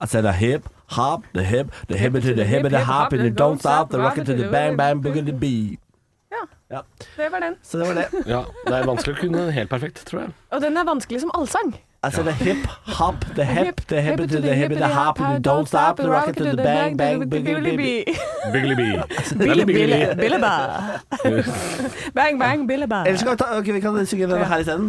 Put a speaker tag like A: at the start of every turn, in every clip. A: I said a hip, hop, the hip, the hip to the hip, the hop, and the don't stop, the rocket to the bang, bang, boogie the beat.
B: Ja,
A: Ja,
B: det var den.
A: så det var det.
C: Ja, det er vanskelig å kunne den helt perfekt, tror jeg.
B: Og den er vanskelig som allsang.
A: I said a hip, hop, the hip, the hip to the hip, the hop, and the don't stop, the rocket to the bang, bang, boogie beat.
C: Biggly Bee.
B: Bille,
C: Veldig Biggly
B: bille,
C: Bee.
B: billeba. Bang, bang, billeba.
A: Ellers kan vi, ta, ok, vi kan synge den her isteden.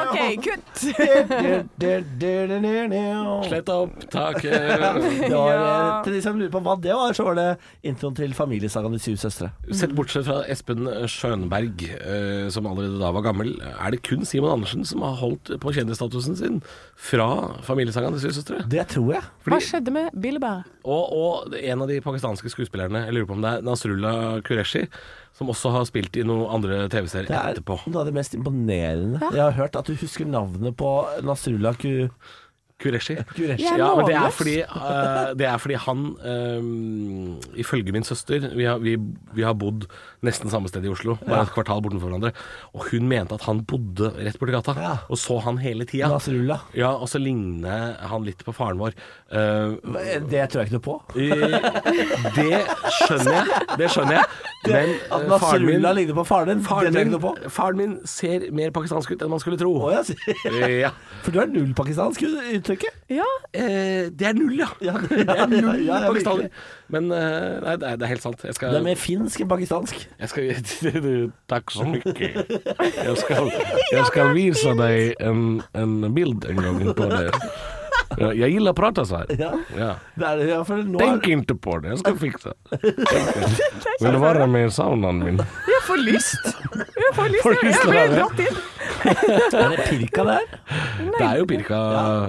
B: OK, kutt.
A: Du-du-du-du-du-du.
C: Slett av opptaket.
A: Det var, eh, Til de som lurer på hva det var, så var det introen til familiesagaen De syv søstre.
C: Sett bortsett fra Espen Schønberg, eh, som allerede da var gammel, er det kun Simon Andersen som har holdt på kjendisstatusen sin fra familiesangen til Syv søstre.
A: Det tror jeg.
B: Hva skjedde med Billeba?
C: Og, og en av de pakistanske skuespillerne, jeg lurer på om det er Nasrullah Qureshi, som også har spilt i noen andre TV-serier
A: Det er
C: etterpå.
A: noe av det mest imponerende. Jeg har hørt at du husker navnet på Nasrullah Ku...
C: Qureshi.
A: Qureshi.
B: Jeg er
C: Ja, men det er
B: målløs.
C: fordi, eh, det er fordi han, eh, ifølge min søster vi har, vi, vi har bodd nesten samme sted i Oslo, bare et kvartal bortenfor hverandre. Og hun mente at han bodde rett borti gata,
A: Ja.
C: og så han hele tida.
A: Nasrullah.
C: Ja, og så ligner han litt på faren vår. Eh,
A: Det tror jeg ikke noe på.
C: eh, det skjønner jeg, det skjønner jeg. Men
A: At
C: eh, faren min
A: Nasrullah ligner på faren din, det
C: Faren
A: tror jeg
C: min,
A: ikke noe på.
C: faren min ser mer pakistansk ut enn man skulle tro.
A: Å, ja, sier-
C: Ja.
A: For du er null pakistansk, uttrykket.
B: Ja,
C: Eh, det er null, ja.
A: Ja, det-
C: det er null
A: ja, ja, ja,
C: pakistaner. Men eh, nei, det er, det er helt sant. Jeg
A: Du
C: skal,
A: er mer finsk enn pakistansk.
C: jeg skal du, du, Takk så mye. Jeg skal, jeg skal vise deg en, en bild en gang på det. Ja, Jeg liker å prate sånn.
A: Ja.
C: Ja.
A: Det er, ja, for nå
C: Tenk
A: er,
C: ikke på det, jeg skal fikse det. Vil du være med i saunaen min?
B: jeg får lyst. Jeg får lyst.
C: Får
B: Jeg,
C: lyst
B: jeg
C: til å
B: ble
C: være med.
B: dratt inn.
A: er det pirka der?
C: Det er jo pirka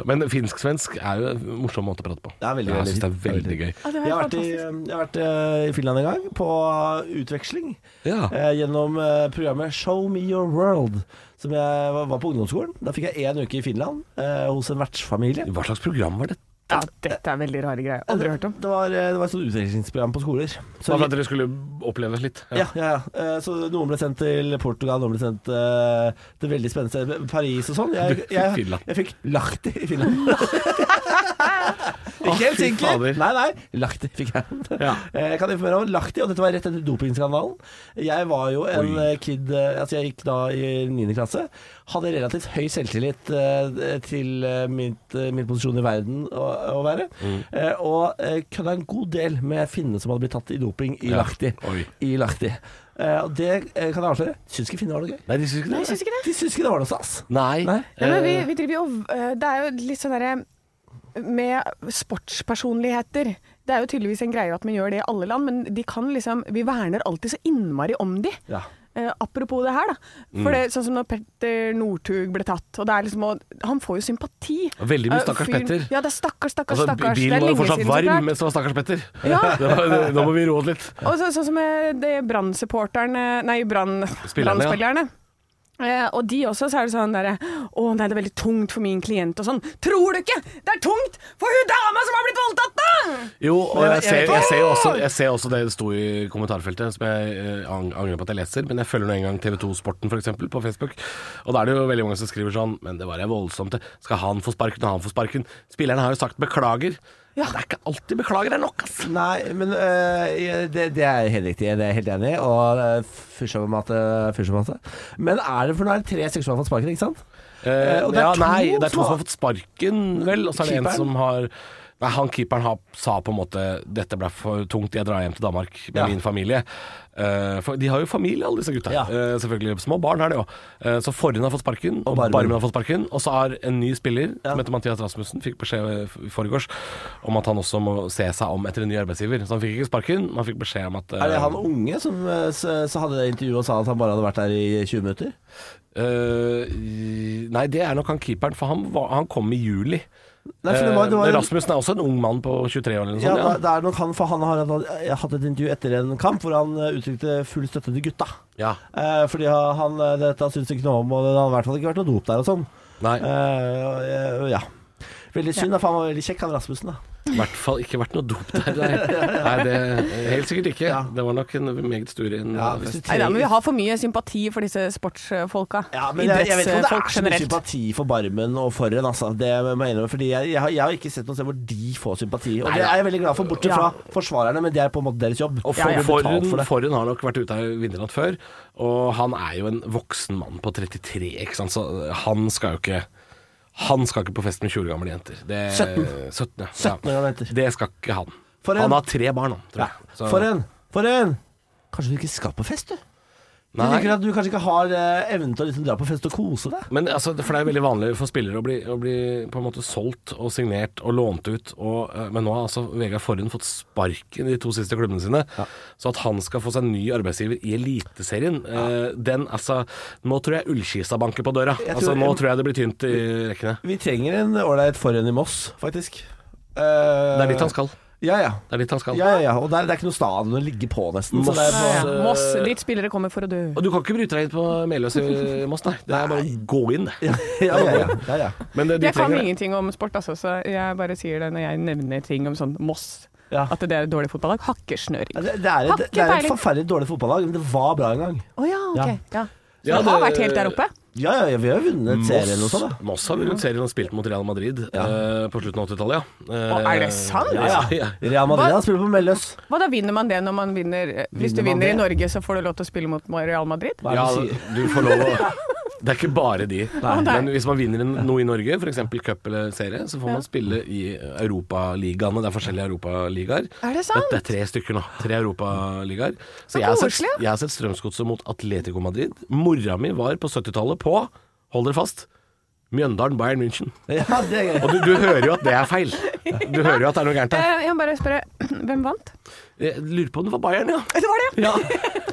C: Men finsk-svensk er jo en morsom måte å prate på.
A: Det er veldig,
C: jeg
A: veldig
C: syns det er
A: fint. Det er
C: veldig gøy.
B: Ja, det
A: Jeg
B: var
A: har
B: helt
A: vært i,
B: fantastisk.
A: jeg har vært eh, i Finland en gang, på utveksling.
C: Ja.
A: eh, gjennom eh, programmet Show me your world, som jeg var, var på ungdomsskolen. Da fikk jeg én uke i Finland eh, hos en vertsfamilie.
C: Hva slags program var det?
B: Ja, dette er veldig rare greier. Aldri hørt om.
A: Det var, eh, det var et sånt utvekslingsprogram på skoler. Så,
C: Bare for at dere skulle oppleve litt.
A: ja, ja, ja. Eh, så noen ble sendt til Portugal, noen ble sendt eh, til veldig spennende sted, Paris og sånn. Jeg,
C: fikk
A: jeg,
C: Finland.
A: jeg fikk Lahti i Finland. Ikke helt
C: fy fader.
A: sikker. Nei, nei. Lahti fikk jeg.
C: Ja.
A: Eh, Jeg kan informere om Lahti, og dette var rett etter dopingskandalen. Jeg var jo en
C: Oi.
A: eh, kid eh, Altså, jeg gikk da i 9. klasse. Hadde relativt høy selvtillit eh, til eh, mitt, eh, min posisjon i verden å, å være.
C: Mm.
A: Eh, Og eh, kødda en god del med finnene som hadde blitt tatt i doping i
C: Ja.
A: Lahti.
C: Oi.
A: I Lahti. Eh, Og det eh, kan jeg avsløre. Syns ikke finner var noe gøy.
C: Nei, de syns ikke
B: Nei, jeg syns ikke det.
A: De syns ikke det var noe stas.
C: Nei.
A: Nei.
B: Nei, men
C: Eh.
B: vi, vi driver jo øh, Det er jo litt sånn derre Med sportspersonligheter. Det er jo tydeligvis en greie at man gjør det i alle land, men de kan liksom Vi verner alltid så innmari om de.
A: Ja.
B: Eh, apropos det her, da. For
C: Mm.
B: det, sånn som når Petter Northug ble tatt og det er liksom, og, Han får jo sympati.
C: Veldig mye
B: Eh,
C: stakkars
B: fyren-
C: Petter.
B: Ja, det er stakkars, stakkars,
C: Altså,
B: stakkars. Det er
C: bilen var jo
B: lenge
C: fortsatt
B: siden, så klart.
C: varm mens det var stakkars Petter.
B: Ja.
C: Det var, nå må vi roe oss litt.
B: Og så, sånn som eh, det Brann-supporterne Nei, Brann-
C: Spillerne, ja.
B: Brann-spillerne. Eh, og de også, så er det sånn derre Å nei, det er veldig tungt for min klient og sånn. Tror du ikke det er tungt for hun dama som har blitt voldtatt, da?!
C: Jo, og
A: Men jeg-
C: jeg ser,
A: jeg-
C: jeg, ser jo også, jeg ser også det det sto i kommentarfeltet, som jeg eh, ang- angrer på at jeg leser. Men jeg følger nå en gang TV2 Sporten f.eks. på Facebook. Og da er det jo veldig mange som skriver sånn Men det var jo voldsomt. det. Skal han få sparken, og han få sparken? Spillerne har jo sagt beklager. Det er ikke alltid beklager er nok, ass.
A: Nei, men øh, det, det er helt riktig. Det er jeg helt enig i. Og øh, fysjomate, fysjomate. Men er det for nå er det tre stykker som har fått sparken, ikke sant?
C: Eh,
A: og det er
C: ja,
A: to
C: nei, det er
A: som
C: to som
A: har-
C: har fått sparken, vel. Og så er det en
A: Keeperen?
C: som har Nei, han keeperen har, sa på en måte 'dette ble for tungt, jeg drar hjem til Danmark med
A: Ja.
C: min familie'. Eh, for de har jo familie, alle disse gutta.
A: Ja.
C: Eh, selvfølgelig. Små barn er det jo. Eh, så Forhund har fått sparken, og,
A: Barmen.
C: Barmen. har fått sparken. Og så har en ny spiller, som heter Mathias Rasmussen, fikk beskjed eh, f- i forgårs om at han også må se seg om etter en ny arbeidsgiver. Så han fikk ikke sparken, men han fikk beskjed om at eh,
A: Er det han unge som øh, s- så hadde det intervjuet og sa at han bare hadde vært der i 20 minutter?
C: eh, Nei, det er nok han keeperen, for han, var, han kom i juli.
A: Nei, for det var, det var
C: Eh,
A: jo
C: Rasmussen er også en ung mann på 23 år eller noe
A: ja,
C: sånt.
A: da-
C: Ja,
A: det er nok han, for han har hatt- hatt et intervju etter en kamp hvor han øh, uttrykte full støtte til gutta.
C: ja.
A: Eh, fordi han, øh, dette syns ikke noe om, og det har i hvert fall ikke vært noe dop der og sånn.
C: Nei.
A: Eh, og, eh, ja. Veldig synd, da, for han var veldig kjekk, han Rasmussen. da
C: I hvert fall ikke vært noe dop der. Nei, nei det, helt sikkert ikke. Det var nok en eh, meget stueren
A: Ja, hvis du
C: fest.
B: Nei da, men vi
A: trenger-
B: har for mye sympati for disse sportsfolka.
A: Ja, men jeg, jeg vet ikke om det
B: Idrettsfolk
A: er så mye sympati for Barmen og for en, altså. Det må jeg innrømme. Fordi jeg, jeg, har, jeg har ikke sett noe sted hvor de får sympati. Og det er jeg veldig glad for, bortsett
B: Ja.
A: fra forsvarerne, men det er på en måte deres jobb.
C: Og
A: Ja,
C: for,
A: ja.
C: Forhen,
A: Betalt for det.
C: Forhen har nok vært ute av vinternatt før, og han er jo en voksen mann på 33, ikke sant? så eh, han skal jo ikke han skal ikke på fest med 20 år gamle jenter. Det,
A: 17.
C: 17, ja.
A: 17 år gamle jenter.
C: Det skal ikke han.
A: For en-
C: han har tre barn, han. Tror
A: Ja.
C: jeg. Så-
A: For en! For en! Kanskje du ikke skal på fest, du? Du
C: Nei.
A: liker at du kanskje ikke har eh, evnen til å liksom dra på fest og kose deg?
C: Men altså, for det er veldig vanlig for spillere å bli, å bli på en måte solgt og signert og lånt ut. Og, eh, men nå har altså Vegard Forhund fått sparken i de to siste klubbene sine. Så at han skal få seg en ny arbeidsgiver i Eliteserien, eh, den altså Nå tror jeg Ullkisa banker på døra.
A: Jeg
C: altså,
A: tror-
C: nå tror jeg det blir tynt i rekkene.
A: Vi trenger en ålreit forhen i Moss, faktisk. Eh,
C: Det er dit han skal.
A: Ja, ja.
C: Det er dit han skal.
A: ja, ja, ja. Og der, det er ikke noe stadion å ligge på, nesten. Så
C: Moss.
A: det er
B: Ja,
A: på,
B: ja. Moss, dit spillere kommer for å dø.
C: Og du kan ikke bryte deg inn på Meløs i Moss, nei. Det er bare å gå inn, det.
A: ja, ja, ja, ja, ja, ja.
C: Men eh, de
B: Jeg kan
C: trenger-
B: ingenting om sport, altså, så jeg bare sier det når jeg nevner ting om sånn Moss.
A: Ja.
B: At det er et dårlig fotballag. Hakkesnøring.
A: Ja, Det, det, er et,
B: Har ikke
A: det er et
B: peiling.
A: forferdelig dårlig fotballag, men det var bra en gang.
B: Å ja,
A: Ja.
B: ok. Ja. Så
C: Ja,
B: det har
C: det-
B: vært helt der oppe?
A: Ja, ja, ja vi har jo vunnet serien og sånn, da.
C: Moss har vunnet serien og spilt mot Real Madrid eh, på slutten av 80-tallet, ja.
B: Å, er det sant?
C: Ja, ja. ja.
A: Real Madrid
B: Hva-
A: han spiller på Melløs.
B: Hva da vinner man det når man vinner eh, Hvis
A: Vinner man
B: du vinner
A: det?
B: i Norge, så får du lov til å spille mot Real Madrid?
A: Hva
C: Ja,
A: er det du sier?
C: du får lov å Det er ikke bare de. Men hvis man vinner en- noe i Norge, f.eks. cup eller serie, så får man spille i europaligaene. Det er forskjellige europaligaer.
B: Er det sant?
C: Det er tre stykker nå. Tre europaligaer.
B: Så
C: Så jeg har sett,
B: koselig.
C: jeg har sett Strømsgodset mot Atletico Madrid. Mora mi var på 70-tallet på, hold dere fast, Mjøndalen Bayern München.
A: Ja, det er gøy.
C: Og du, du hører jo at det er feil. Du hører jo at det er noe gærent
B: Eh,
C: her.
B: Jeg må bare spørre, hvem vant?
C: Jeg lurer på om det var Bayern, ja.
B: Det var det!
C: Ja.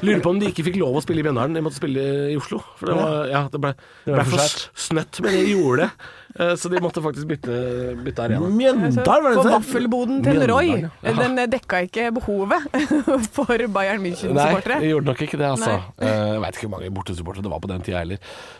C: Lurer på om de ikke fikk lov å spille i Mjøndalen, de måtte spille i Oslo. For det, var, ja, det ble,
A: var
C: ble
A: for
C: for
A: svært.
C: snøtt, men de gjorde det. Eh, Så de måtte faktisk bytte, bytte arena.
A: Mjøndalen, var det sånn-
B: Eh, For
A: du sa?
B: vaffelboden til Roy,
C: Mjøndalen, ja.
B: den eh, dekka ikke behovet for Bayern
C: Nei, de
B: München-supportere.
C: gjorde nok ikke det, altså. Eh, Jeg veit ikke hvor mange bortesupportere det var på den tida heller.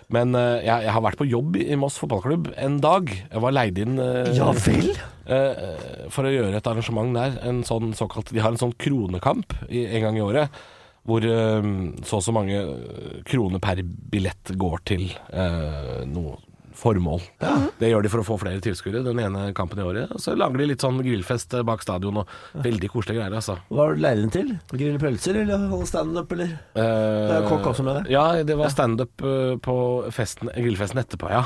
C: Men eh, jeg, jeg har vært på jobb i Moss fotballklubb en dag. Jeg var leid inn eh,
A: Ja vel?
C: eh, for å gjøre et arrangement der. En sånn såkalt, de har en sånn kronekamp i, en gang i året. Hvor eh, så og så mange eh, kroner per billett går til eh, noe formål. Det gjør de for å få flere tilskuere den ene kampen i året. Og så lager de litt sånn grillfest eh, bak stadion og veldig koselige greier, altså.
A: Hva var det leid inn til? Grille pølser eller holde standup, eller?
C: Det
A: er jo kokk også med det.
C: Eh, Ja, det var standup eh, på festen, grillfesten etterpå, ja.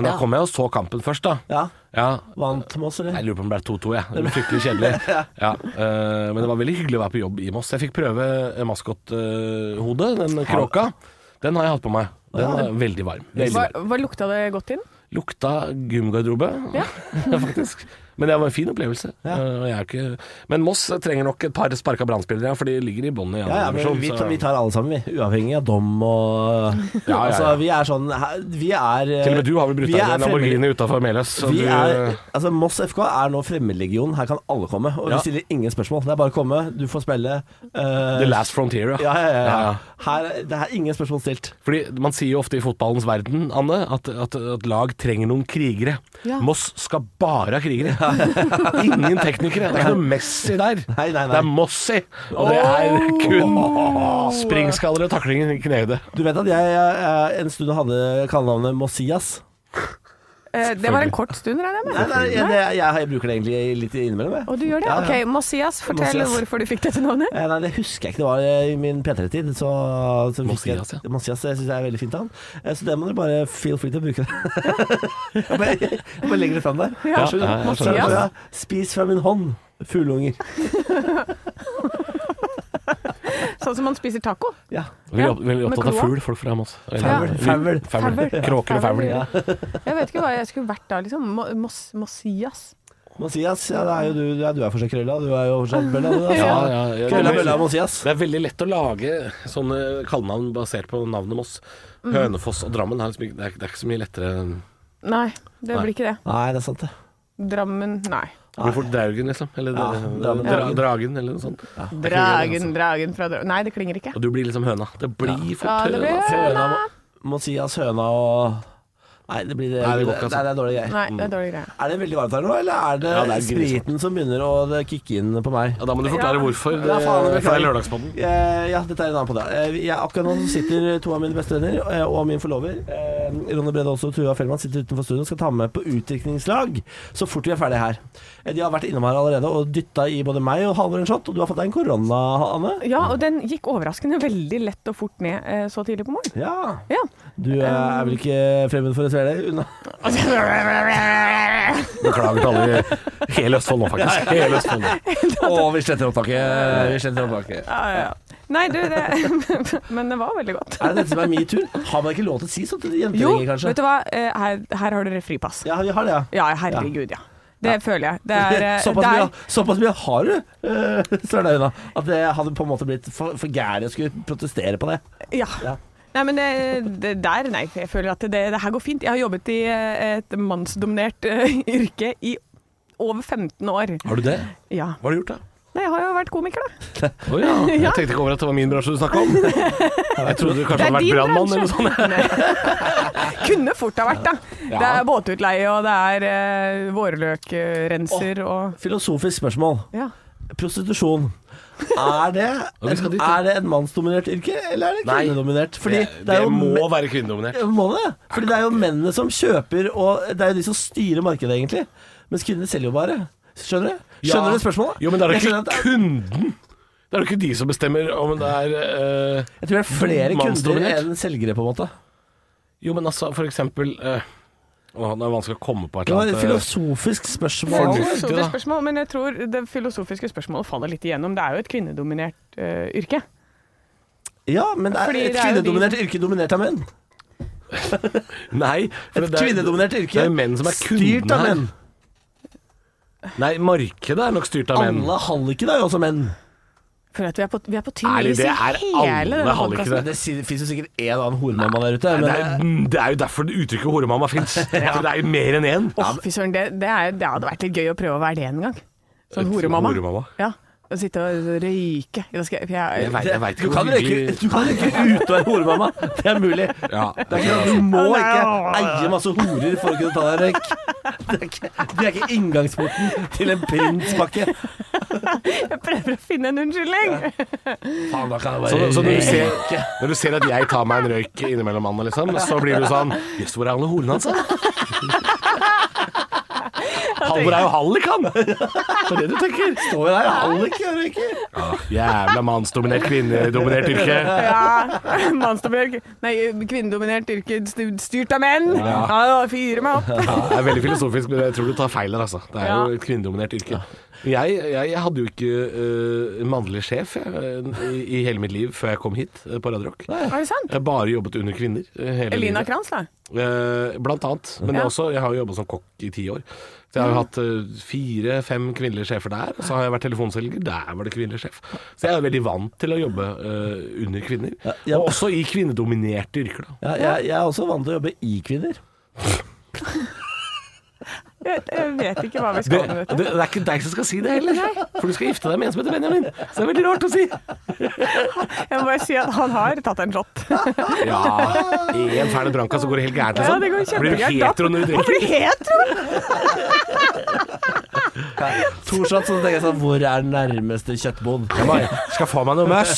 C: Men da
A: Ja.
C: kom jeg og så kampen først, da.
A: Ja.
C: Ja,
A: Vant med oss, eller?
C: Jeg lurer på om det ble 2-2, jeg. Det ble fryktelig kjedelig. Ja, eh, men det var veldig hyggelig å være på jobb i Moss. Jeg fikk prøve maskothodet, den kråka. Den har jeg hatt på meg. Den er veldig varm. Veldig
B: Hva,
C: varm.
B: hva lukta det godt inn?
C: Lukta gymgarderobe,
B: Ja.
C: faktisk. Men det var en fin opplevelse. Eh, og jeg er ikke... Men Moss trenger nok et par sparka brannspillere, for de ligger i bånn i
A: Ja, ja, men
C: andre
A: vi, tar, vi
C: divisjon. så-
A: tar alle sammen, vi. Uavhengig av dom og
C: Ja, ja, ja.
A: Altså, vi er sånn her- Vi er eh,
C: Til og med du har vel brutt
A: vi
C: deg i
A: er
C: en Lamborghini utafor Meløs. så
A: Vi
C: du-
A: er, altså Moss FK er nå fremmedlegionen. Her kan alle komme. Og
C: Ja.
A: vi stiller ingen spørsmål. Det er bare å komme, du får spille. eh,
C: The Last Frontier,
A: ja, ja, ja,
C: Ja,
A: ja.
C: ja.
A: Her, det er ingen spørsmål stilt.
C: Fordi Man sier jo ofte i fotballens verden Anne, at, at, at lag trenger noen krigere.
B: Ja.
C: Moss skal bare ha krigere. Ingen teknikere. Det er ikke noe Messi der.
A: Nei, nei, nei.
C: Det er Mossi. Og det er kun springskaller og taklinger i knehøyde.
A: Du vet at jeg, eh, en stund hadde kallenavnet Mossias.
B: Eh, Det var en kort stund, regner jeg
A: Nei,
B: med.
A: nei, jeg, det, jeg, jeg bruker det egentlig litt innimellom. Jeg.
B: Og du gjør det?
A: Ja, ja.
B: Ok, Masias, fortell
A: Masias.
B: hvorfor du fikk dette navnet.
A: Eh, Nei, det husker jeg ikke. Det var eh, i min P3-tid. Så, så fikk jeg-
C: Mosias, ja.
A: Mosias, jeg syns jeg er veldig fint av han. Eh, Så det må dere bare feel free til å bruke. det jeg bare, jeg bare legger det fram der.
B: Ja,
A: Vær så god.
C: ja, jeg
B: skjønner.
A: Ja, Spis fra min hånd, fugleunger.
B: Sånn som man spiser taco.
A: Ja.
C: Veldig opp- veldig
B: Ja, med
C: opptatt av
B: kloa.
C: fugl, folk fra Moss.
A: Faul, faul.
C: Faul.
B: Faul.
C: Kråker og
B: Faul,
C: faul.
B: ja. Jeg vet ikke hva jeg skulle vært da, liksom. Mo- Mos, Mosias.
A: Mosias, ja, det er jo du, ja, du er for seg krølla. Du er jo for seg bølla, du. Altså.
C: Ja, ja, ja.
A: Krølla, bølla, Mosias.
C: Det er veldig lett å lage sånne kallenavn basert på navnet Moss. Hønefoss og Drammen er liksom ikke- det er, det er ikke så mye lettere enn
B: Nei, det
C: Nei.
B: blir ikke det.
A: Nei, det er sant, det.
B: Drammen, nei.
C: Det blir fort Draugen, liksom. Eller
A: Ja,
C: eh,
A: Drammen.
C: dra, Dragen, eller noe sånt. Det klinger,
B: Dragen, dragen fra Drammen. Nei, det klinger ikke.
C: Og du blir liksom høna. Det blir fort
B: Ja, det
C: høna.
B: blir-
A: Høna, Mo- Mosias, høna og Nei, det blir
C: Nei, det går ikke, altså.
A: Nei, det er dårlige greier. Mm.
B: Nei, det er dårlig greie.
A: Er det veldig varmt her nå, eller er det,
C: Ja, det er grisevarmt.
A: spriten som begynner å eh, kicke inn på meg?
C: Ja, da må du forklare
B: Ja.
C: hvorfor. Det,
A: Ja, faen,
C: for
A: jeg
C: det er
A: beklager.
C: lørdagspodden.
A: Eh, ja, dette er en annen podd. ja. Eh, jeg- akkurat nå så sitter to av mine beste venner eh, og min forlover, eh, Ronny Brede Aase og Tuva Fellmann, sitter utenfor studio og skal ta med på utdrikningslag så fort vi er ferdige her. Eh, de har vært innom her allerede og dytta i både meg og Halvor en shot, og du har fått deg en korona, Anne.
B: Ja, og den gikk overraskende veldig lett og fort ned eh, så tidlig på morgenen.
A: Ja.
B: Ja.
A: Du eh, er vel ikke fremmed for et svele? Unna.
C: Beklager til alle i hele Østfold nå, faktisk. Hele Østfold nå.
A: Å, vi sletter opptaket. Vi sletter opptaket.
B: Ja, ja, ja. Nei, du, det Men det var veldig godt.
A: Er det dette som er metoo? Har man ikke lov til å si sånt til jenter
B: Jo,
A: lenger, kanskje?
B: vet du hva, eh, her, her har dere fripass.
A: Ja, vi har det, ja.
B: Ja, herregud, ja. Det føler jeg. Det er, eh,
A: såpass,
B: det er
A: mye, såpass mye har du, uh, Sørla Una, at det hadde på en måte blitt for, for gære å skulle protestere på det.
B: Ja.
A: Ja.
B: Nei, men det, det der, nei, for jeg føler at det, det her går fint. Jeg har jobbet i eh, et mannsdominert eh, yrke i over 15 år.
C: Har du det?
B: Ja.
C: Hva har du gjort, da?
B: Nei, jeg har jo vært komiker, da.
C: Å ja. Jeg tenkte ikke over at det var min bransje du snakka om. Jeg trodde du kanskje hadde vært brannmann eller noe sånt.
B: Kunne fort ha vært, da. Det er båtutleie, og det er eh, vårløkrenser og
A: Filosofisk spørsmål.
B: Ja.
A: Prostitusjon. Er det,
C: vi skal dit, ja.
A: er det en mannsdominert yrke, eller er det
C: Nei.
A: kvinnedominert? Fordi
C: det,
A: det, er jo
C: må
A: me-
C: være kvinnedominert.
A: må det? Fordi det er jo mennene som kjøper, og det er jo de som styrer markedet, egentlig. Mens kvinner selger jo bare. Skjønner du? Skjønner du spørsmålet?
C: Jo, men det er
A: Jeg
C: jo
A: skjønner at det
C: ikke
A: er-
C: kunden. Det er jo ikke de som bestemmer om det er eh,
A: Jeg tror det er flere kunder
C: Mannsdominert.
A: enn selgere, på en måte.
C: Jo, men altså, for eksempel eh, Å, det er vanskelig å komme på et
A: Det var
C: eller
A: et
C: annet eh,
A: filosofisk
B: Det er
A: spørsmål.
B: et
C: Fornuftig, da.
B: filosofisk spørsmål, men jeg tror det filosofiske spørsmålet faller litt igjennom. Det er jo et kvinnedominert eh, yrke.
A: Ja, men det er
B: Fordi
A: et
B: det er jo de-
A: kvinnedominert yrke dominert av menn.
C: eh, Nei, for
A: Et
C: det er-
A: kvinnedominert
C: Det
A: yrke
C: er jo menn som er
A: styrt
C: kundene
A: av
C: her.
A: menn.
C: Nei, markedet er nok styrt av menn.
A: Alle hallikene er jo også altså, menn.
B: For at vi er på, vi er på
C: Er
B: tynn
C: det
B: is i
C: det? Er alle
B: hele denne
C: hallikere?
B: podkasten.
A: Det fins jo sikkert én annen horemamma der ute.
C: Nei,
A: Men
C: det, er, det er jo derfor det uttrykket horemamma fins. For det er jo mer enn én.
B: Åh, fy søren, det, det, er, det hadde vært litt gøy å prøve å være det en gang. Sånn horemamma.
C: Horemamma.
B: Ja. Å sitte og røyke. Da skal jeg, for
C: Jeg
B: jeg,
C: vet- jeg vet ikke
A: du
C: hvor
A: kan
C: hyggelig-
A: røyke, du kan røyke ute og være horemamma. Det er mulig.
C: Ja,
A: Det er ikke, sånn at du må ikke eie masse horer for å kunne ta deg en røyk. Det er ikke, det er ikke inngangsporten til en prinspakke.
B: jeg prøver å finne en unnskyldning!
A: Faen, da kan jeg
C: Så,
A: bare
C: så når, du ser,
A: røyke.
C: når du ser at jeg tar meg en røyk innimellom mannen, liksom, så blir du sånn Jøss, hvor er alle horene hans, da? Halvor er jo hallik, han! Det er det du tenker.
A: Står jo der, hallik og røyker.
C: Jævla mannsdominert, kvinnedominert yrke.
B: Ja, mannsdominert Nei, kvinnedominert yrke stu- styrt av menn. Ja, da fyrer meg opp.
C: Ja, det er veldig filosofisk, men jeg tror du tar feil der, altså. Det er
B: Ja.
C: jo et kvinnedominert yrke. Jeg, jeg, jeg hadde jo ikke øh, mannlig sjef jeg, øh, i, i hele mitt liv før jeg kom hit øh, på Radio Rock.
B: Er det sant?
C: Jeg bare jobbet under kvinner. øh, hele
B: Elina
C: livet.
B: Kranz, da.
C: Eh, blant annet. Men
B: Ja. Mm.
C: også, jeg har jo jobba som kokk i ti år. Så jeg har jo hatt fire-fem kvinnelige sjefer der. Og så har jeg vært telefonselger. Der var det kvinnelig sjef. Så jeg er veldig vant til å jobbe eh, under kvinner.
A: ja.
C: Og også i kvinnedominerte yrker, da.
A: Ja, jeg, jeg er også vant til å jobbe i kvinner.
B: Jeg, jeg vet ikke hva vi
C: Det,
B: skal med
C: det,
B: dette.
C: er ikke deg som skal si det heller, for du skal gifte deg med en som heter Benjamin. Så det er veldig rart å si.
B: Jeg må bare si at han har tatt en shot.
C: Ja, i en fæl branca så går det helt gærent.
B: Ja,
C: Liksom.
B: det går
C: Blir du
B: kjempegærent.
C: hetero når du
B: Han
C: drikker?
B: blir hetero!
A: To shots, og så tenker jeg sånn Hvor er nærmeste kjøttbod?
C: Jeg bare, skal få meg noe møss.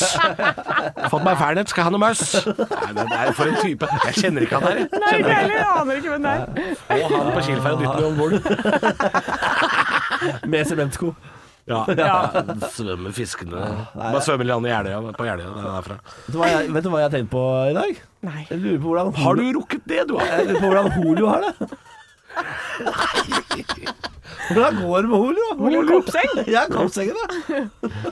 C: Fått meg fernet, skal ha noe møss. Nei, det det er for en type. Jeg kjenner ikke han her.
B: Nei, ikke jeg heller. Jeg aner ikke hvem det er.
C: Og han på Kielferg og dytter meg om bord.
A: Med sementsko.
C: Ja.
B: Ja.
C: Svømmer fiskene Bare svømmer litt an i Jeløya. På Jeløya, det er derfra.
A: Vet du hva jeg, vet du hva jeg har tenkt på i dag?
B: Nei.
A: Jeg lurer på hvordan
C: Har du Eh, rukket det, du?
A: Jeg lurer på hvordan Holio har det. Hvordan går det med Holio?
B: Holio Kopseng?
A: Ja, Kopsengen, da.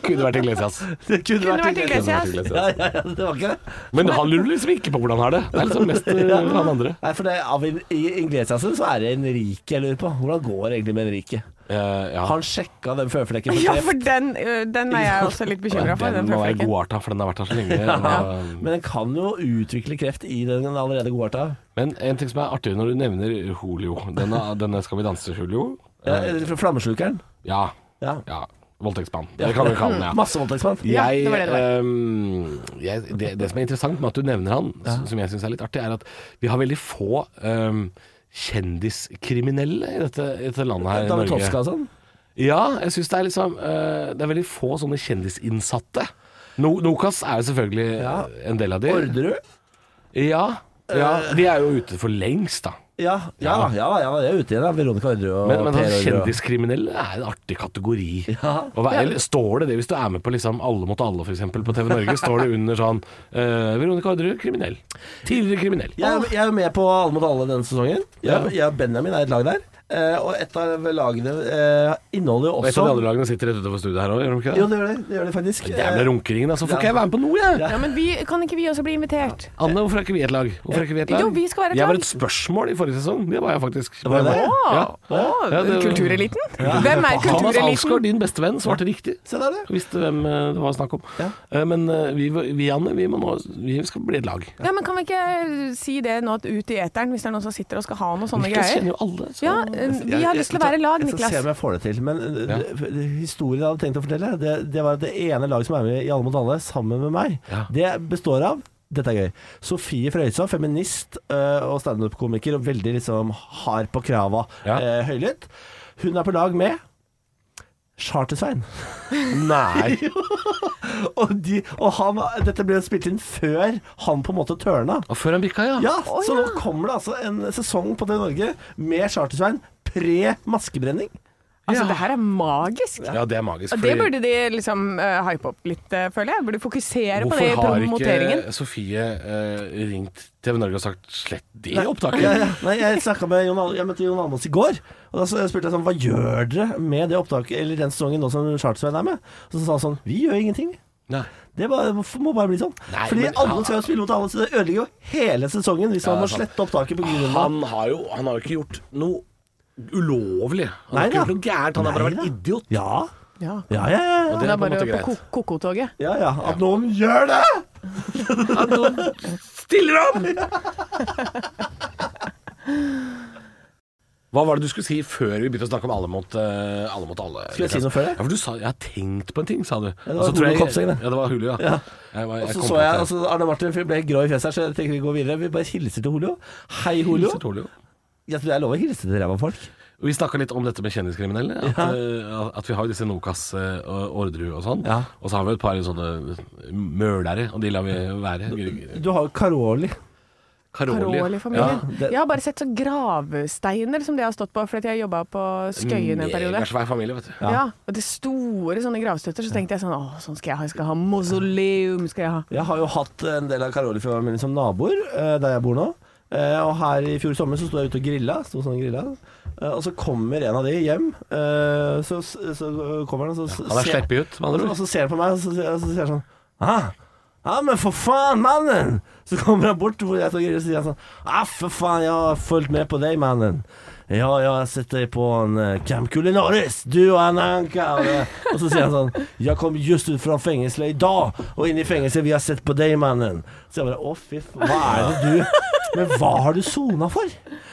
C: Kunne vært Iglesias.
A: Det kunne,
B: Kunne vært
A: vært Iglesias.
B: Iglesias.
A: Ja, ja, ja, det var ikke det.
C: Men han lurer liksom ikke på hvordan han har det. Det er liksom mest eh, han andre.
A: Nei, for det, av in- i Inglesiasen så er det Enrique jeg lurer på. Hvordan går det egentlig med Enrique?
C: Eh, ja.
A: Har han sjekka den føflekken for
B: Ja,
A: kreft?
B: for den, ø, den er jeg også litt bekymra for.
C: Den
B: Den
C: må være
B: føflekken.
C: godarta, for den har vært her så lenge. Og-
A: Men den kan jo utvikle kreft i den allerede godarta.
C: Men en ting som er artig når du nevner Julio Denne, denne Skal vi danse, Julio.
A: Ja, eller fra flammeslukeren.
C: Ja.
A: Ja.
C: ja. Voldtektsmann. Det kan vi kalle han, ja.
A: Masse voldtektsmann.
B: Ja,
C: Jeg,
B: det var det det var.
C: ehm, jeg, det, det som er interessant med at du nevner han, s- som jeg syns er litt artig, er at vi har veldig få ehm, kjendiskriminelle i dette, i dette landet her i
A: David
C: Norge.
A: Tovska og sånn.
C: Ja, jeg syns det er liksom eh, Det er veldig få sånne kjendisinnsatte. No, Nokas er jo selvfølgelig
A: Ja.
C: en del av de.
A: Orderud.
C: Ja, ja. De er jo ute for lengst, da.
A: Ja, ja,
C: Ja.
A: ja, ja, jeg er ute igjen. da. Veronica Orderud og
C: Men, men
A: Per
C: sånn
A: Orderud.
C: kjendiskriminelle er en artig kategori.
A: Ja.
C: Å være, eller Står det det hvis du er med på liksom Alle mot alle, f.eks. på TV Norge? Står det under sånn eh, Veronica Orderud, kriminell. Tidligere kriminell.
A: Jeg, er- jeg er jo med på Alle mot alle denne sesongen. Jeg, jeg og Benjamin er et lag der. Eh, og et av lagene eh, inneholder jo
C: Og et av de andre
A: også
C: lagene sitter rett utenfor studiet her òg, gjør de ikke
A: Jo, det
C: det?
A: gjør det, det, gjør det faktisk. Eh,
C: Den Jævla runkeringen, altså. Får ikke jeg være med på noe, jeg?
A: Ja.
B: Ja, men vi, kan ikke vi også bli invitert?
C: Anne, hvorfor er ikke vi et lag? Hvorfor er ikke vi et lag?
B: Jo, vi skal være et
C: jeg var
B: lag.
C: et spørsmål i forrige sesong. Det var jeg faktisk.
A: Var det det?
C: Ja.
B: Å,
C: Ja, det-
B: kultureliten? Hvem er
C: Thomas
B: kultureliten?
C: Alsgaard, din bestevenn, svarte riktig.
A: Se der, du.
C: Jeg Visste hvem eh, det var snakk om.
A: Ja.
C: Eh, Men eh, vi, vi Anne, vi, må nå, vi skal bli et lag.
B: Ja, men Kan vi ikke si det nå ut i eteren, hvis det er noen som sitter og skal ha noe sånne
C: Niklas
B: greier?
C: kjenner jo alle. Så. Altså,
B: Ja, eh, Vi har lyst til å være lag,
A: Jeg skal se
B: Niklas.
A: om jeg får det til. Men eh, det- historien jeg hadde tenkt å fortelle, det, det var at det ene laget som er med i Alle mot alle, sammen med meg,
C: Ja.
A: det består av dette er gøy. Sofie Frøysaa, feminist eh, og standup-komiker, og veldig liksom hard på krava,
C: Ja.
A: eh, høylytt. Hun er på lag med Charter-Svein.
C: Nei.
A: Og, de, og han, dette ble spilt inn før han på en måte tørna.
C: Og før han bikka, ja.
A: Ja,
B: Å,
A: Så
B: ja.
A: nå kommer det altså en sesong på TV Norge med Charter-Svein pre-maskebrenning.
B: Altså,
C: Ja.
B: det her er magisk.
C: Ja, det er magisk.
B: Og det
C: fordi-
B: burde de liksom eh, hype opp litt, eh, føler jeg. Burde fokusere på
C: Hvorfor
B: det i
C: har
B: promoteringen.
C: ikke Sofie eh, ringt TV Norge og sagt 'slett det opptaket'?
A: Ja, ja. Nei, jeg snakket med Jon Al Jeg møtte Jon Almaas i går, og da så- spurte jeg sånn Hva gjør dere med det opptaket, eller den sesongen nå som Charter-Svein er med? Og så sa han sånn Vi gjør ingenting.
C: Nei.
A: Det bare, må bare bli sånn.
C: Nei,
A: Fordi
C: men-
A: alle skal jo spille mot alle, så det ødelegger jo hele sesongen hvis man
C: Ja,
A: må
C: det er sant.
A: slette opptaket på grunn av
C: Han har jo han har jo ikke gjort noe ulovlig. Han
A: Nei
C: har ikke
A: da.
C: gjort noe gærent, han har bare
A: Nei
C: vært
A: da.
C: idiot.
A: Ja.
B: Ja.
A: Ja, ja, ja. ja.
B: Det er
C: det er på en
B: bare
C: måte
B: på
C: greit.
B: ko- ko-ko-toget.
A: Ja, ja. At noen gjør det!
C: At noen stiller opp! Hva var det du skulle si før vi begynte å snakke om alle mot, eh, alle, mot alle?
A: Skulle jeg si noe før det?
C: Ja, for du sa 'jeg har tenkt på en ting', sa du.
A: det
C: Og så
A: var
C: tror
A: Hulu
C: jeg-
A: Kopseng, det.
C: Ja, det var Hulu, ja.
A: Ja.
C: Jeg var- jeg
A: Og så
C: kom
A: så
C: på
A: jeg
C: det.
A: altså Arne Martin ble grå i fjeset her, så jeg tenker vi går videre. Vi bare hilser til Holio. Hei, Holio.
C: Hilser til Hulu.
A: Jeg tror jeg lover å hilse til ræva folk.
C: Og Vi snakka litt om dette med kjendiskriminelle. At, eh, at vi har jo disse Nokas eh, og Orderud og sånn.
A: Ja.
C: Og så har vi et par sånne mølere, og de lar vi være.
A: Du har jo Karoli.
B: Karoli-familien.
A: Ja, det-
B: Jeg har bare sett så gravsteiner som det har stått på, fordi at jeg jobba på Skøyen en periode.
C: Megasvær familie, vet du.
B: Ja. og det store sånne gravstøtter, så tenkte jeg sånn Å, sånn skal jeg ha. Jeg skal ha mausoleum. skal jeg ha.
A: Jeg har jo hatt en del av Karoli-familien som naboer eh, der jeg bor nå. Eh, og her i fjor sommer så sto jeg ute og grilla, sto sånn og grilla. Eh, og så kommer en av de hjem. Eh, så, så kommer han og så,
C: Han er
A: ser-
C: sleppet ut,
A: og
C: med andre
A: så,
C: ord.
A: og så ser han på meg, og så, og så sier han sånn ah, Ja, men for faen, mannen! Så kommer han bort hvor jeg står og griller, og så sier han sånn Ja, for faen, jeg har fulgt med på deg, mannen. Ja, jeg har sett deg på en eh, Camp Culinaris, du og Anna Anka. Og, eh, og så sier han sånn Jeg kom just ut fra fengselet i dag, og inn i fengselet vi har sett på deg, mannen. Så jeg bare Å, fy faen, hva er det du Men hva har du sona for?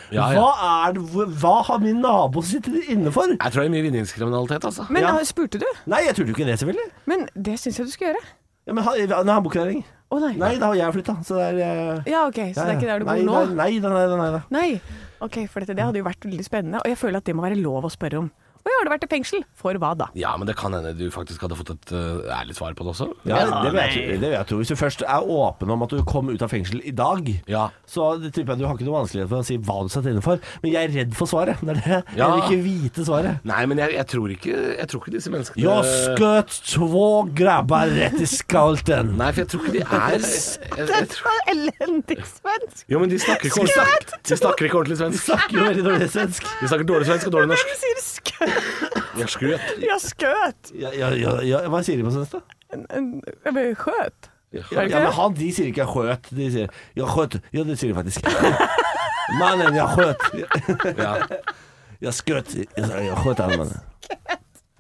C: Ja, ja.
A: Hva er det hvor- Hva har min nabo sittet inne for?
C: Jeg tror det er mye vinningskriminalitet, altså.
B: Men
A: Ja.
B: da spurte du?
A: Nei, jeg trodde jo ikke det, selvfølgelig.
B: Men det syns jeg du skal gjøre.
A: Ja, men han, han har bokklaring.
B: Å nei.
A: Nei, da har jeg flytta, så det er eh,
B: Ja, OK, så det er ikke der du bor nå?
A: Nei, nei, nei, nei, nei, nei.
B: Nei. OK, for dette, det hadde jo vært veldig spennende, og jeg føler at det må være lov å spørre om. Og har du vært i fengsel? For hva da?
C: Ja, men det kan hende du faktisk hadde fått et eh, ærlig svar på det også.
A: Ja, det, vil jeg, tro- det vil jeg tro. Hvis du først er åpen om at du kom ut av fengsel i dag,
C: Ja.
A: så det tipper jeg du har ikke noe vanskelighet for å si hva du satt inne for. Men jeg er redd for svaret. Det er det. Jeg
C: Ja.
A: vil ikke vite svaret.
C: Nei, men jeg, jeg, tror ikke, jeg tror ikke disse menneskene
A: Jeg skjøt to grabber rett i skalten.
C: Nei, for jeg tror ikke de er jeg, jeg tror,
B: var elendig svensk!
C: Jo, men de snakker ikke ordentlig, de snakker ikke ordentlig svensk.
A: Snakker jo veldig dårlig svensk.
C: De snakker dårlig svensk og dårlig norsk.
B: sier skøt?
C: Jeg skrøt.
B: Ja, skøt.
A: Ja, ja, ja, ja, hva sier de på svensk, da?
B: Skjøt.
A: Ja, ja, men han, de sier ikke 'jeg skjøt'. De sier 'jeg skjøt'. Ja, det sier de faktisk. Mannen, jeg skjøt.
C: Ja.
A: Jeg skjøt. Jeg sa, Jeg skjøt han, mannen.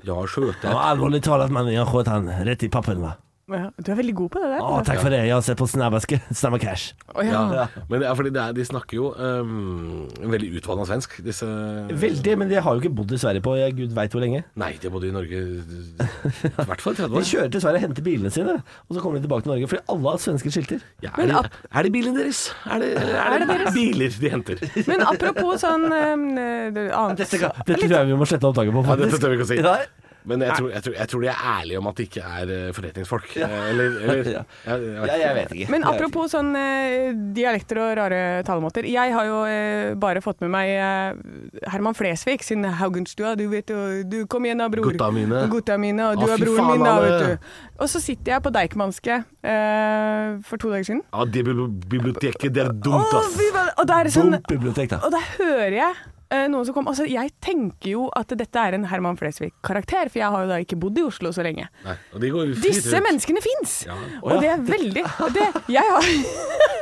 C: Jeg skjøt
A: Det var alvorlig talt, mannen. Jeg skjøt han rett i pappen, va.
B: Ja, Du er veldig god på det der.
A: Å, takk for det. Jeg har sett på Snabbaske. Snabba Cash.
B: Å, ja.
C: Ja. Men det er fordi det er, de snakker jo um, veldig utvanna svensk, disse
A: Veldig, men de har jo ikke bodd i Sverige på eh, gud veit hvor lenge.
C: Nei, de har bodd i Norge i hvert fall 30
A: De
C: år.
A: kjører til Sverige og henter bilene sine, og så kommer de tilbake til Norge fordi alle har svenske skilter.
C: Ja, er, det, er det bilen deres? Er det, eller er det, biler de henter?
B: Men apropos sånn eh, det- annet
A: Dette, kan, dette tror jeg vi må slette opptaket på,
C: Ja, dette tør vi ikke å si.
A: Nei.
C: Men jeg tror, jeg, tror, jeg tror de er ærlige om at de ikke er eh, forretningsfolk. Eh, Eller, eller
A: Ja.
C: jeg- jeg vet
A: Ja, jeg
C: ikke.
A: vet ikke.
B: Men
A: Jeg vet
B: apropos sånn eh, dialekter og rare talemåter. Jeg har jo eh, bare fått med meg eh, Herman Flesvig sin 'Haugenstua'. Du vet jo Du, kom igjen da, bror.
C: Gutta mine.
B: Gutta mine, og du
C: Å,
B: er
C: fy
B: broren
C: faen,
B: min, da,
C: alle.
B: vet du. Og så sitter jeg på Deichmanske eh, for to dager siden.
C: Ja, det bibli- biblioteket, det er
B: Å,
C: dumt, ass.
B: fy faen! og det er
A: ikke.
B: sånn
A: Dumt bibliotek, da.
B: Og da hører jeg eh, noen som kom Altså, jeg tenker jo at dette er en Herman Flesvig-karakter, for jeg har jo da ikke bodd i Oslo så lenge.
C: Nei, og de går jo fritt
B: Disse
C: ut.
B: menneskene fins!
C: Ja.
B: Og det er veldig det, Jeg har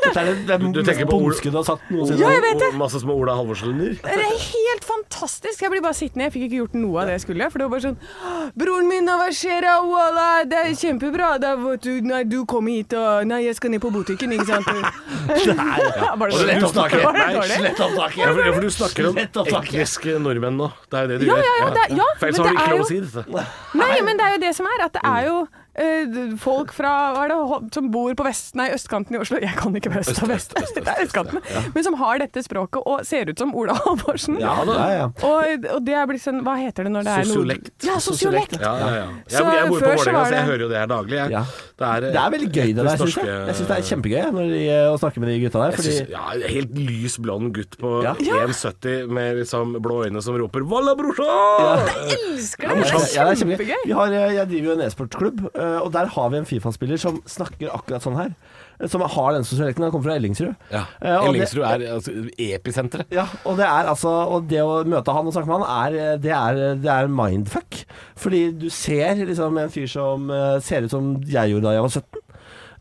A: Dette er det, det er
C: Du- du tenker
A: mest
C: på Ol-
A: bumske du har sagt noensinne.
B: Ja, jeg vet det.
C: Og Masse små Ola Halvorsen-linjer.
B: Det er helt fantastisk. Jeg blir bare sittende. Jeg fikk ikke gjort noe av det jeg skulle. For det var bare sånn «Åh, Broren min, hva skjer? Ah, Walla, det er kjempebra. Da, vet du, nei, du kom hit, og Nei, jeg skal ned på butikken, ikke sant? Nei, var det
A: Slett
B: dårlig?
A: opptaket.
B: Var det
A: Nei,
B: dårlig?
A: slett
C: Ja, for,
A: opptaket.
C: ja, for du snakker om
A: Slett opptaket.
C: etniske nordmenn nå. Det er jo det du
B: Ja,
C: gjør.
B: ja, ja, det er- ja,
C: For ellers
B: men
C: har du
B: det
C: ikke
B: er
C: lov å
B: jo-
C: si dette.
B: Nei, men det er jo det som er. At det er jo eh, folk fra hva er det, Ho- som bor på vest, nei, østkanten i Oslo Jeg kan ikke øst og vest, det er østkanten. Men som har dette språket og ser ut som Ola Halvorsen.
A: Ja, da. Ja, ja.
B: Og, og det er blitt sånn Hva heter det når det er nord-
C: Sosiolekt.
B: Ja, sosiolekt.
C: Ja, ja, ja.
B: Så
C: Jeg, jeg bor på
B: før så
C: Vålerenga,
B: var
C: så jeg
B: det-
C: hører jo det her daglig. Jeg.
A: Ja.
C: Det, er,
A: Det er veldig gøy det der, syns
C: etnisk
A: jeg.
C: norske-
A: Jeg syns det er kjempegøy når de, eh, å snakke med de gutta der.
C: Jeg
A: Fordi
C: synes, ja, en Helt lys blond gutt på
A: Ja.
C: 1,70 med liksom blå øyne som roper 'Valla, brorsan!'
B: Jeg
C: Eh,
B: elsker
A: Ja,
B: det!
A: morsomt.
B: Det
A: Ja,
B: er
A: kjempegøy.
B: kjempegøy.
A: Vi har, eh, jeg driver jo en e-sportklubb, eh, og der har vi en Fifa-spiller som snakker akkurat sånn her. eh, Som har den sosialekten. Han kommer fra Ellingsrud. Eh, og det-
C: Ellingsrud er altså, episenteret.
A: Ja, og det er altså Og det å møte han og snakke med han, er, det, er, det er mindfuck. Fordi du ser liksom en fyr som eh, ser ut som jeg gjorde da jeg var 17.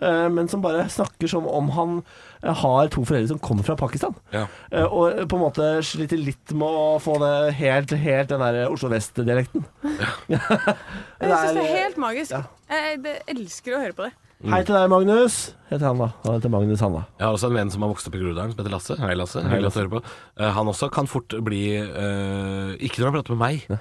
A: eh, Men som bare snakker som om han eh, har to foreldre som kommer fra Pakistan.
C: Ja.
A: Eh, Og på en måte sliter litt med å få det helt, helt den der Oslo Vest-dialekten.
B: Jeg syns det er helt magisk. Eh,
A: Ja.
B: Jeg det- elsker å høre på det.
A: eh, Hei til deg, Magnus. Heter han da. Han heter Magnus, han da.
C: Jeg har også en venn som har vokst opp i Groruddalen, som heter Lasse. Hei, Lasse. Hyggelig at du hører på. Eh, han også kan fort bli eh, Ikke når han prater med meg. eh,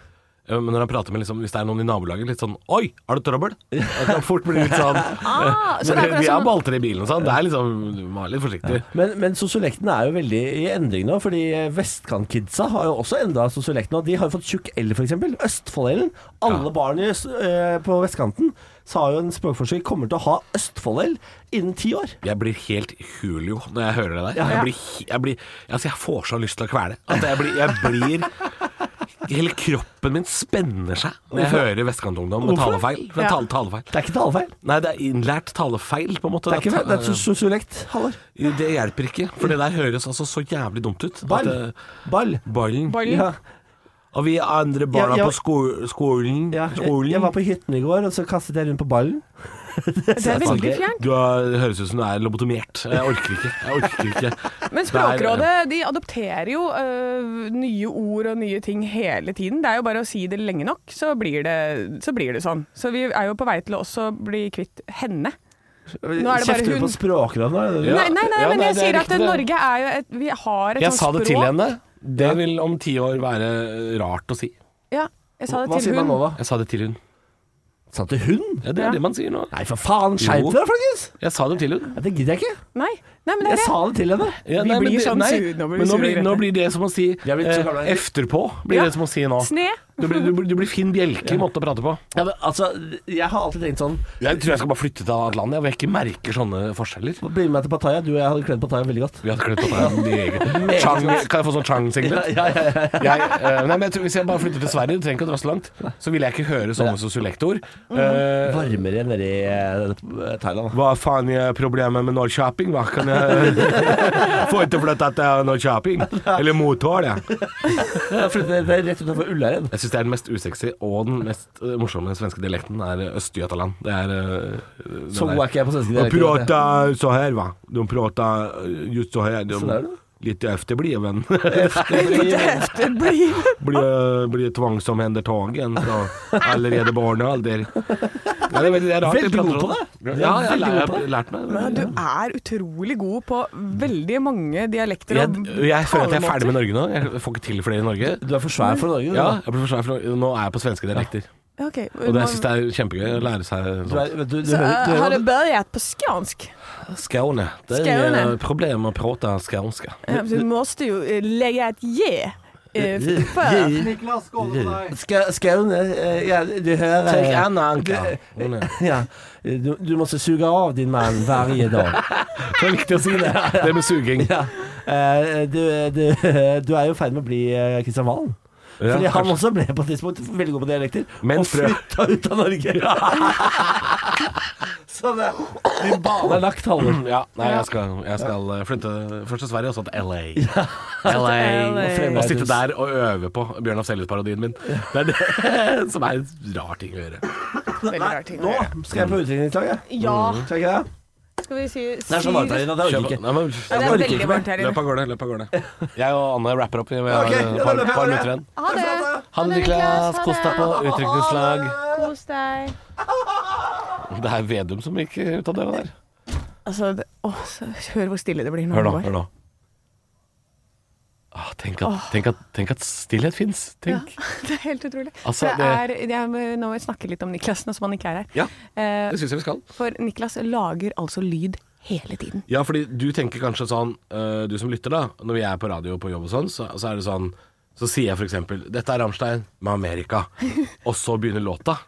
C: Men når han prater med liksom, hvis det er noen i nabolaget, litt sånn 'Oi, har du trøbbel?' Han kan fort bli litt sånn
B: Ah, så det er
C: Men det,
B: akkurat
C: Vi
B: som
C: har balter i bilen og sånn. Det er liksom Du må være litt forsiktig.
A: Men, men sosiolekten er jo veldig i endring nå, fordi Vestkant-kidsa har jo også endra sosiolekten. Og de har jo fått tjukk L, f.eks. Østfold-L-en. Alle
C: Ja.
A: barn i, øst- eh, på vestkanten sa jo en språkforsker kommer til å ha Østfold-L innen ti år.
C: Jeg blir helt Julio når jeg hører det der.
A: Ja.
C: Jeg, blir, he- jeg, blir, altså jeg får så lyst til å kvele. At jeg blir, jeg blir Hele kroppen min spenner seg når jeg hører Vestkantungdom med
A: Hvorfor?
C: talefeil. For
B: Ja.
C: tale, talefeil.
A: Det er ikke talefeil.
C: Nei, det er innlært talefeil, på en måte.
A: Det er, ikke,
C: Ta-
A: feil. det er sos- sosiolekt, Halvor.
C: Det hjelper ikke, for det der høres altså så jævlig dumt ut.
A: Ball.
C: At, eh,
A: Ball.
C: ballen.
B: Ballen.
A: Ja,
C: Og vi andre barna
A: Ja, ja.
C: på sko skolen.
A: ja. Jeg,
C: skolen.
A: jeg var på hytten i går, og så kastet jeg rundt på ballen.
B: Det er veldig
A: Sange.
B: fjernt.
C: Du er, det høres ut som du er lobotomert. Jeg orker ikke. Jeg orker ikke.
B: Men
C: Det er-
B: Språkrådet de adopterer jo øh, nye ord og nye ting hele tiden. Det er jo bare å si det lenge nok, så blir det, så blir det sånn. Så vi er jo på vei til å også bli kvitt henne. er det bare
A: Kjefter du
B: hun.
A: på språkrådet nå?
C: Ja.
B: nei, nei, nei,
C: ja,
B: men
C: nei,
B: jeg
C: det er
B: sier at
C: riktig det.
B: Norge er jo et Vi har et
C: Jeg
B: sånt
C: sa det til
B: språk.
C: henne. Det vil om ti år være rart å si.
B: Ja, jeg sa det
A: Hva
B: til
A: sier man nå,
B: hun.
A: da?
C: Jeg sa det til hun.
A: Sa til hun?
C: Ja, det er
B: Ja.
C: det man sier nå.
A: Nei, for faen. Skjerp
C: Jo.
A: dere, folkens!
C: Jeg sa det til hun.
A: Ja, Det gidder jeg ikke.
B: Nei, nei, men det
A: Jeg
B: er det.
A: sa det til henne.
C: Ja,
B: Vi blir
C: men det-
B: sånn
C: nei,
B: sur- nå blir vi
C: men nå
B: sure
C: blir,
B: og
C: nå
B: grete.
C: blir det som å si
A: er blitt så
C: eh,
A: gamle.
C: Efterpå blir
B: Ja.
C: det som å si nå.
B: Sne.
C: Du blir, du, blir- du blir Finn Bjelke i måte å prate på.
A: Ja, men, altså, jeg har alltid tenkt sånn
C: Jeg tror jeg skal bare flytte til et annet land, jeg, hvor jeg ikke merker sånne forskjeller.
A: Bli med meg til Pattaya. Du og jeg hadde kledd Pattaya veldig godt.
C: Vi hadde kledd på deg mye. Chang, kan jeg få sånn Chang-singlet? Jeg, eh, nei, men jeg tror, hvis jeg bare flytter til Sverige, du trenger ikke å dra så langt, så vil jeg ikke høre sånne sosiolektor.
B: Mm.
C: Eh,
A: Varmere enn nede i eh, Thailand. da.
C: hva faen er problemet med Norrköping? Hva kan jeg Får ikke flytta til Norrköping. Eller Motala.
A: Jeg flyttet ned rett utenfor Ullern.
C: Jeg syns det er den mest usexy og den mest eh, morsomme svenske dialekten er eh, Øst-Götaland. Det er eh, den
A: Så
C: der.
A: god er ikke jeg på svenske
C: De
A: dialekter.
C: pratar så här va. De pratar just så här. De,
A: Så där då?
C: Lite efterbliven.
B: Det blir
C: blir, eh, blir tvångsomhändertagen från allerede barnealder. Ja, det, er veldig- det er rart.
A: Veldig
C: Vi prater
A: god på
C: om-
A: det.
C: Ja,
A: Ja, jeg er
C: veldig
A: lei
C: god på
A: av-
C: det. Lært meg
B: Men du er utrolig god på veldig mange dialekter
C: Jeg,
B: og
C: jeg føler at jeg er
B: talemåter.
C: ferdig med Norge nå. Jeg får ikke til flere i Norge.
A: Du er for svær for Norge. du,
C: Ja,
A: da.
C: jeg blir for svær for Norge. Nå er jeg på svenske dialekter.
B: Ok,
C: Og det
B: man-
C: jeg synes jeg er kjempegøy å lære seg
A: Du
C: sånt.
A: er, vet du, du,
B: Så,
A: hører, du
B: eh, har
A: hører
B: det börjat på skånsk?
C: Skåne. Det er
B: Skåne.
C: et problem å prate skånska.
B: Eh, Du måste ju eh, lägga ett J eh,
A: J-
B: för.
A: J-
D: Niklas, skål for deg.
A: Ska- Skåne eh, ja, Du hører
C: Tenk Anna Anka.
A: det-
C: Hun er-
A: ja, du, du måste suga av din man varje dag.
C: Det er viktig å si det. Det med suging.
A: Ja. Eh, Du, du, du er jo i ferd med å bli eh, Kristian Valen.
C: Ja,
A: Fordi han
C: kanskje.
A: også ble på et tidspunkt veldig god på dialekter,
C: Men
A: og
C: sprø.
A: flytta ut av Norge. Så det, din bane er lagt, Halle.
C: Ja, nei, jeg skal, jeg skal eh, flytte først til Sverige og så til LA. LA.
B: LA.
C: Og sitte der og øve på Bjørn Afselius-parodien min. Det er det som er en rar ting å gjøre. Mm.
B: Veldig rar ting å
A: Nå
B: gjøre.
A: skal jeg på utviklingslaget.
B: Ja,
A: Skal jeg ikke det?
B: skal vi si
A: Det er så varmt her inne at jeg
C: Kjøp-
A: orker ikke.
C: Nei, men-
B: Ja, det
A: Jeg
B: er
A: orker
B: veldig
A: ikke mer.
B: varmt her
C: Løp
B: inne.
C: av gårde. løp av gårde Jeg og Anne wrapper opp. Vi har
A: Ok,
C: et
A: ja,
C: par,
A: da løper jeg
C: par
A: av
C: minutter igjen.
B: Ha det.
C: Ha det, Niklas. Kos deg på utdrikningslag.
B: Kos deg.
C: Det Mm. er Vedum som gikk ut av døra der.
B: Altså, det, åh, så, hør hvor stille det blir når
C: Hør
B: det
C: nå.
B: går.
C: hør nå ah, tenk, at, tenk, at, tenk at stillhet fins. Tenk.
B: Det er helt utrolig.
C: Altså,
B: det er, jeg må, nå må vi snakke litt om Niklas, nå som han ikke er her.
C: Ja,
B: Eh,
C: det syns jeg vi skal.
B: for Niklas lager altså lyd hele tiden.
C: Ja, fordi du tenker kanskje sånn, øh, du som lytter da, når vi er på radio og på jobb og sånn, så, så er det sånn, så sier jeg for eksempel, dette er Rammstein med Amerika, og så begynner låta.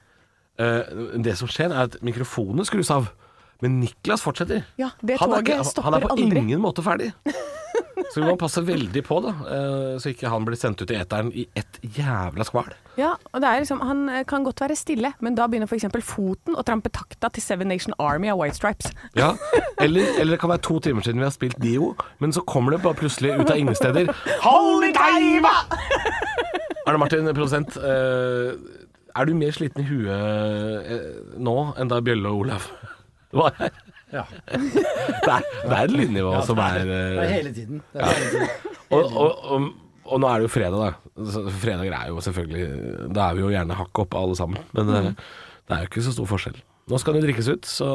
C: Eh, det som skjer er at mikrofonen skrus av, men Niklas fortsetter.
B: Ja, det
C: Han er
B: toget
C: ikke-
B: stopper
C: Han er på
B: aldri.
C: ingen måte ferdig. Så vi må passe veldig på da, eh, så ikke han blir sendt ut i eteren i et jævla skval.
B: Ja, og det er liksom, Han eh, kan godt være stille, men da begynner f.eks. foten å trampe takta til Seven Nation Army av White Stripes.
C: Ja, eller, eller det kan være to timer siden vi har spilt Dio, men så kommer det bare plutselig ut av ingen steder. Holy diva! Arne Martin, produsent. eh, er du mer sliten i huet eh, nå enn da Bjølle og Olav var her?
D: Ja.
C: Det er, det er et lydnivå som er,
D: Det er
C: eh,
D: hele tiden. Det er hele tiden.
C: og, og, og, og nå er det jo fredag, da. Så Fredager er jo selvfølgelig Da er vi jo gjerne hakket oppe alle sammen. Men eh,
B: Mm.
C: det er jo ikke så stor forskjell. Nå skal det drikkes ut, så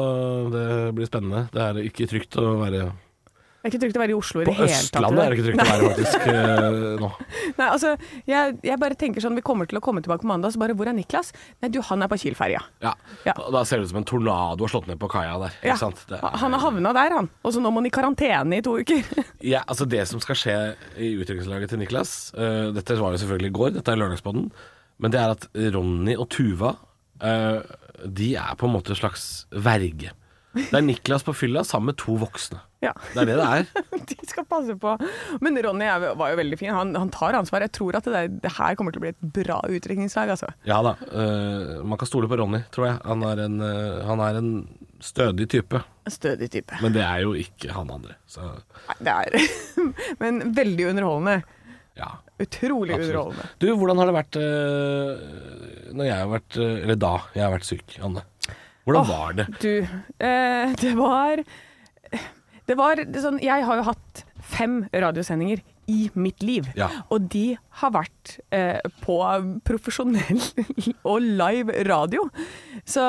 C: det blir spennende. Det er ikke trygt å være
B: Det er ikke trygt å være i Oslo i
C: På
B: det hele tatt.
C: Østlandet er det ikke trygt å være faktisk eh, nå.
B: Nei, altså, jeg, jeg bare tenker sånn, Vi kommer til å komme tilbake på mandag, så bare Hvor er Niklas? Nei, du, han er på Kiel-ferja.
C: Ja.
B: Ja.
C: Og Da ser det ut som en tornado har slått ned på kaia der.
B: Ja,
C: Ikke sant? Det, er-
B: han har havna der, han. Og så nå må han i karantene i to uker.
C: ja, altså det som skal skje i utdrikningslaget til Niklas eh, Dette var jo selvfølgelig i går, dette er lørdagsbåten. Men det er at Ronny og Tuva eh, De er på en måte en slags verge. Det er Niklas på fylla sammen med to voksne.
B: ja,
C: Det er det det er.
B: De skal passe på. Men Ronny er, var jo veldig fin. Han, han tar ansvar. Jeg tror at det, der, det her kommer til å bli et bra utdrikningslag, altså.
C: Ja da. eh, man kan stole på Ronny, tror jeg. Han er en, eh, han er en stødig type.
B: En Stødig type.
C: Men det er jo ikke han andre. Så
B: Nei, det er Men veldig underholdende.
C: ja.
B: Utrolig
C: Absolutt.
B: underholdende.
C: Du, hvordan har det vært eh, når jeg har vært eh, Eller da jeg har vært syk, Anne. Hvordan
B: Åh.
C: var det?
B: Du, eh, det var Det var sånn Jeg har jo hatt fem radiosendinger i mitt liv.
C: Ja.
B: Og de har vært eh, på profesjonell og live radio. Så,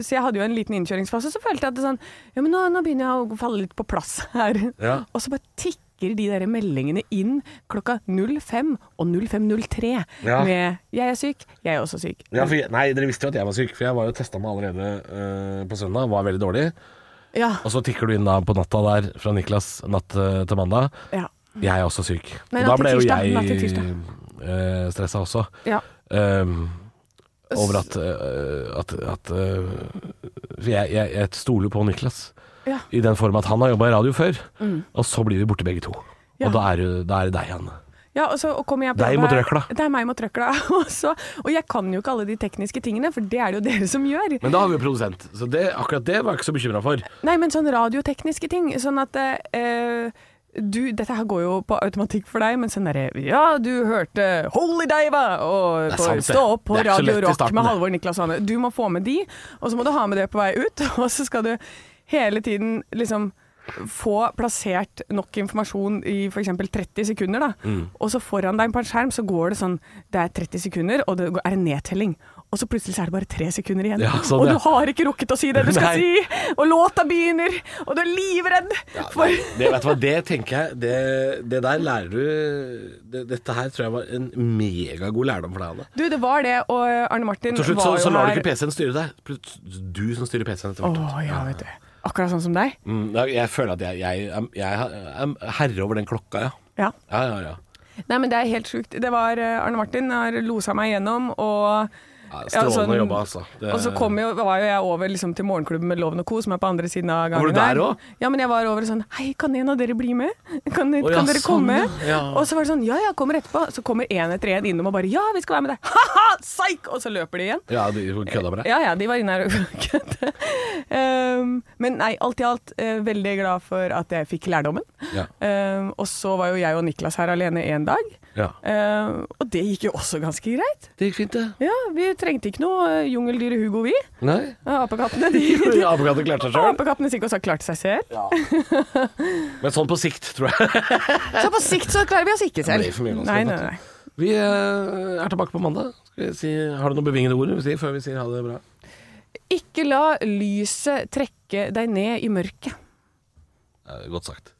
B: så jeg hadde jo en liten innkjøringsfase, så følte jeg at det sånn Ja, men nå, nå begynner jeg å falle litt på plass her.
C: Ja.
B: Og så bare tikker de der meldingene inn klokka 05 og 05.03
C: Ja.
B: med 'Jeg er syk, jeg er også syk'.
C: Ja, for jeg, nei, Dere visste jo at jeg var syk, for jeg var jo testa meg allerede eh, på søndag. Var veldig dårlig.
B: Ja.
C: Og så tikker du inn da på natta der fra Niklas natt eh, til mandag.
B: ja.
C: Jeg er også syk.
B: Nei,
C: og da
B: natt til
C: ble jo
B: tirsdag, natt til
C: jeg
B: tirsdag.
C: uh, stressa også.
B: ja.
C: Ehm, over at, eh, at, at eh, for jeg, jeg, jeg stoler jo på Niklas.
B: Ja.
C: I den form at han har jobba i radio før, og så blir vi borte begge to.
B: Mm. Ja.
C: Og da er, det- da er det deg, Anne.
B: Ja, og så og kommer jeg på
C: Deg
B: jobb
C: mot
B: her-
C: røkla.
B: Det er meg mot røkla. Og, så, og jeg kan jo ikke alle de tekniske tingene, for det er det jo dere som gjør.
C: Men da har vi jo produsent, så det, akkurat det var jeg ikke så bekymra for.
B: Nei, men sånn radiotekniske ting. Sånn at eh, du, dette her går jo på automatikk for deg, men sånn derre Ja, du hørte Holy Diva! Og
C: Det er
B: på,
C: sant, det.
B: stå opp på
C: Det er ikke så
B: Radio
C: lett i
B: Rock
C: starten,
B: med
C: det.
B: Halvor Niklas og Anne. Du må få med de, og så må du ha med det på vei ut. Og så skal du hele tiden liksom få plassert nok informasjon i f.eks. 30 sekunder,
C: Mm.
B: da. Og så foran deg på en skjerm så går det sånn Det er 30 sekunder, og det er en nedtelling. Og og så plutselig så er det bare tre sekunder igjen.
C: Ja, sånn,
B: og
C: ja.
B: du har ikke rukket å si det du skal
C: Nei.
B: si! Og låta begynner, og du er livredd! for
C: Det, vet du hva, det tenker jeg Det, det der lærer du det, Dette her tror jeg var en megagod lærdom for deg, Anne.
B: Du, det var det, og Arne Martin
C: Til slutt så,
B: var jo
C: så lar du
B: her-
C: ikke PC-en styre deg. Plutselig Du som styrer PC-en etter
B: Å
C: hvert.
B: ja, vet du. Akkurat sånn som deg.
C: Mm, ja, jeg føler at jeg, jeg, er- jeg er herre over den klokka, ja.
B: Ja.
C: Ja, ja, ja.
B: Nei, men det er helt sjukt. Det var eh, Arne Martin har losa meg gjennom, og
C: ja
B: Ja,
C: strålende
B: sånn-
C: jobba, altså. Det-
B: Og så kom jo, var jo jeg over liksom, til morgenklubben med Loven og Co, som er på andre siden av gangen.
C: Var du der også?
B: Ja, men jeg var over og sånn Hei, kan en av dere bli med? Kan,
C: Å, ja,
B: kan dere
C: sånn,
B: komme?
C: ja. Ja.
B: Og så var det sånn Ja, ja, kommer etterpå. Så kommer en etter en innom og bare Ja, vi skal være med deg. Ha-ha, psyk! Og så løper de igjen.
C: Ja, de hun kødda med deg.
B: Ja ja, de var inne her og kødde. Um, men nei, alt i alt eh, veldig glad for at jeg fikk lærdommen.
C: Ja.
B: Um, og så var jo jeg og Niklas her alene én dag.
C: Ja.
B: Um, og det gikk jo også ganske greit.
C: Det gikk fint, det.
B: Ja, Vi trengte ikke noe eh, jungeldyret Hugo, vi.
C: Nei.
B: Apekattene de, de
C: Apekatter klarte seg sjøl.
B: Apekattene sikkert også har klart seg selv.
C: Men sånn på sikt, tror jeg.
B: Så på sikt så klarer vi oss ikke
C: Ja, det er
B: selv.
C: for mye vanskelig,
B: Nei, nei, nei.
C: Vi eh, er tilbake på mandag. Skal vi si, har du noen bevingede ord vi sier før vi sier ha det bra?
B: Ikke la lyset trekke deg ned i mørket.
C: Eh, Ja, Godt sagt.